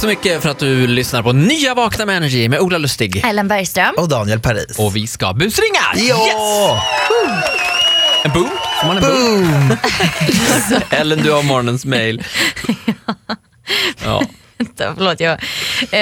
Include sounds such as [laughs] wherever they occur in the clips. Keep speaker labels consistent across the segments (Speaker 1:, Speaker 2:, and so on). Speaker 1: så mycket för att du lyssnar på Nya Vakna med Energy med Ola Lustig.
Speaker 2: Ellen Bergström.
Speaker 1: Oh.
Speaker 3: Och Daniel Paris.
Speaker 1: Och vi ska busringa!
Speaker 3: Ja!
Speaker 1: En boom? Får man en boom?
Speaker 3: Boom!
Speaker 1: Ellen, du har morgonens
Speaker 2: [laughs]
Speaker 1: mail. Ja.
Speaker 2: Vänta, Förlåt, jag... Eh,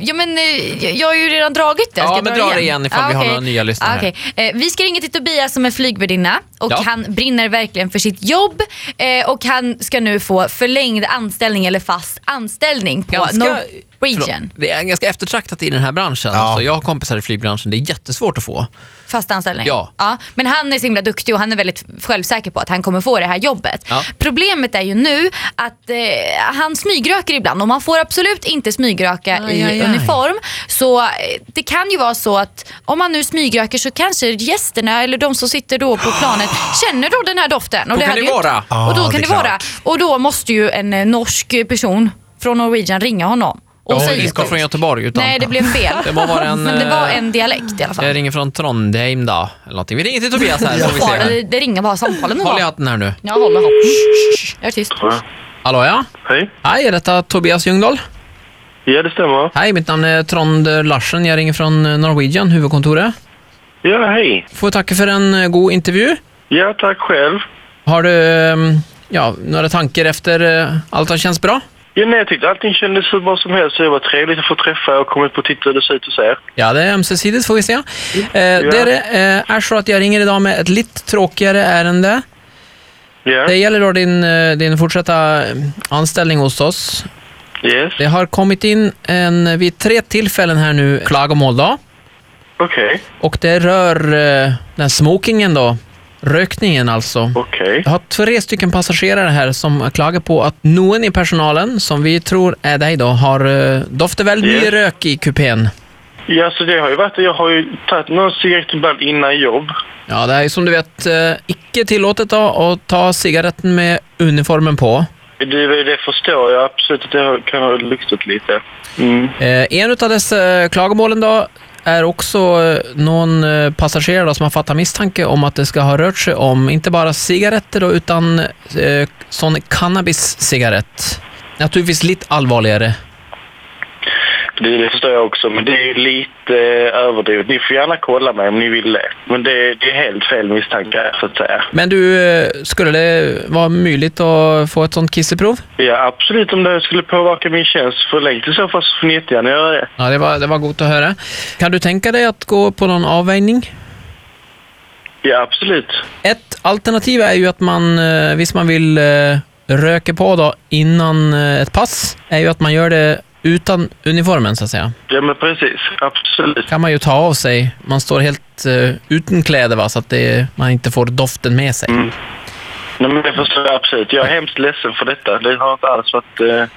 Speaker 2: ja, men, eh, jag- jag har ju redan dragit det.
Speaker 1: Ja, men
Speaker 2: dra Ah,
Speaker 1: dra det igen ifall vi har
Speaker 2: okej.
Speaker 1: några nya lyssnare här.
Speaker 2: okej. eh, Vi ska ringa till Tobias som är flygvärdinna och
Speaker 1: Ja.
Speaker 2: han brinner verkligen för sitt jobb eh, och han ska nu få förlängd anställning eller fast anställning på Norwegian.
Speaker 1: Förlåt, det är ganska eftertraktat i den här branschen.
Speaker 3: Ja.
Speaker 1: Så jag har kompisar i flygbranschen, det är jättesvårt att få.
Speaker 2: Fast anställning?
Speaker 1: Ja.
Speaker 2: Men han är så himla duktig och han är väldigt självsäker på att han kommer få det här jobbet.
Speaker 1: Ja.
Speaker 2: Problemet är ju nu att eh, han smygröker ibland och man får absolut inte smygröka
Speaker 1: Aj,
Speaker 2: i
Speaker 1: aj, aj.
Speaker 2: uniform. Så eh, det kan ju vara så att om man nu smygröker så kanske gästerna eller de som sitter då på
Speaker 1: [gasps]
Speaker 2: planet känner då den här doften. Och
Speaker 1: Då kan
Speaker 2: hade
Speaker 1: det
Speaker 2: ju inte-
Speaker 1: vara.
Speaker 3: Ja,
Speaker 2: Och då
Speaker 3: det är
Speaker 2: kan det
Speaker 3: klart.
Speaker 2: vara. Och då måste ju en eh, norsk person från Norwegian ringa honom. Och
Speaker 1: Jag
Speaker 2: säga
Speaker 1: ringer
Speaker 2: så.
Speaker 1: från Göteborg. Utan
Speaker 2: Nej, det blev fel.
Speaker 1: Det må vara en,
Speaker 2: [laughs] Men det var
Speaker 1: eh,
Speaker 2: en dialekt i alla fall.
Speaker 1: Jag ringer från Trondheim då. Eller någonting. Vi ringer till Tobias här så får Alltså, vi
Speaker 2: Ja,
Speaker 1: se.
Speaker 2: det, det ringer bara samtalen.
Speaker 1: Håll i
Speaker 2: jag.
Speaker 1: hatten här nu.
Speaker 2: Ja, håller hopp. Jag är tyst.
Speaker 1: Hallå ja?
Speaker 4: Hej.
Speaker 1: Hej, är detta Tobias Ljungdahl?
Speaker 4: Ja, det stämmer.
Speaker 1: Hej, mitt namn är Trond Larsen. Jag ringer från Norwegian, huvudkontoret.
Speaker 4: Ja, hej.
Speaker 1: Får tacka för en eh, god intervju.
Speaker 4: Ja, tack själv.
Speaker 1: Har du eh, ja, några tankar efter eh, allt har känts bra?
Speaker 4: Ja, nej, jag tyckte allting kändes hur bra som helst. så Det var trevligt att få träffa er och komma ut och titta hur det ser ut hos er.
Speaker 1: Ja, det är ömsesidigt får vi se. Eh, Det är, eh, är så att jag ringer idag med ett lite tråkigare ärende.
Speaker 4: Ja,
Speaker 1: Det gäller då din, eh, din fortsatta eh, anställning hos oss.
Speaker 4: yes.
Speaker 1: Det har kommit in en, vid tre tillfällen här nu klagomål då.
Speaker 4: Okej,
Speaker 1: Och det rör eh, den här smokingen då. Rökningen alltså.
Speaker 4: okej.
Speaker 1: Jag har tre stycken passagerare här som klagar på att någon i personalen, som vi tror är dig då, har eh, doftat väldigt
Speaker 4: Ja.
Speaker 1: mycket rök i kupén.
Speaker 4: Ja, så det har ju varit... Jag har ju tagit någon cigarett ibland innan jobb.
Speaker 1: Ja, det är ju som du vet eh, icke tillåtet då att ta cigaretten med uniformen på.
Speaker 4: Det, det förstår jag absolut att det har- kan ha luktat lite. Mm.
Speaker 1: Eh, en av dessa eh, klagomålen då är också eh, någon eh, passagerare då som har fattat misstanke om att det ska ha rört sig om inte bara cigaretter då, utan eh, sån cannabiscigarett. Naturligtvis lite allvarligare.
Speaker 4: Det, det förstår jag också, men det är ju lite eh, överdrivet. Ni får gärna kolla mig om ni vill det. Men det, det är helt fel misstankar, så att säga.
Speaker 1: Men du, eh, skulle det vara möjligt att få ett sånt kisseprov?
Speaker 4: Ja, absolut. Om det skulle påverka min tjänst förlängt i så fall så får ni jättegärna göra det.
Speaker 1: Ja, det var, det var gott att höra. Kan du tänka dig att gå på någon avvägning?
Speaker 4: Ja, absolut.
Speaker 1: Ett alternativ är ju att man, eh, visst man vill eh, röka på då innan eh, ett pass, är ju att man gör det utan uniformen så att säga.
Speaker 4: Ja, men precis. Absolut.
Speaker 1: kan man ju ta av sig, man står helt eh, utan kläder va, så att det, man inte får doften med sig.
Speaker 4: Nej, men det förstår jag absolut. Jag är hemskt ledsen för detta. Det har inte alls varit eh,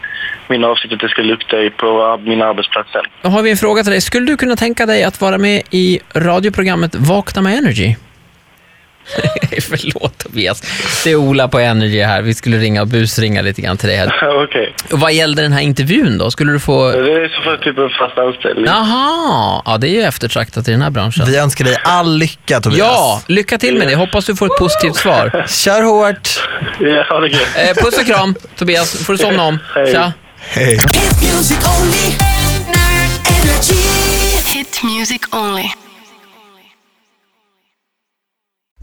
Speaker 4: min avsikt att det ska lukta i- på ar- min arbetsplats än.
Speaker 1: Då har vi en fråga till dig. Skulle du kunna tänka dig att vara med i radioprogrammet Vakna med Energy? [laughs] Förlåt Tobias, det är Ola på Energy här. Vi skulle ringa och busringa lite grann till dig. Här.
Speaker 4: Ja, Okej.
Speaker 1: Och Vad gällde den här intervjun då? Skulle du få...
Speaker 4: Det är så för typ en fast anställning.
Speaker 1: Jaha, ja, det är ju eftertraktat i den här branschen.
Speaker 3: Vi önskar dig all lycka Tobias.
Speaker 1: Ja, lycka till med det. Hoppas du får ett positivt svar.
Speaker 3: Kör hårt.
Speaker 4: Ja, ha det gött.
Speaker 1: Eh, puss och kram Tobias, får du somna om.
Speaker 4: Hej.
Speaker 1: Tja.
Speaker 3: Hej.
Speaker 5: Hit music only. Energy.
Speaker 6: Hit music only.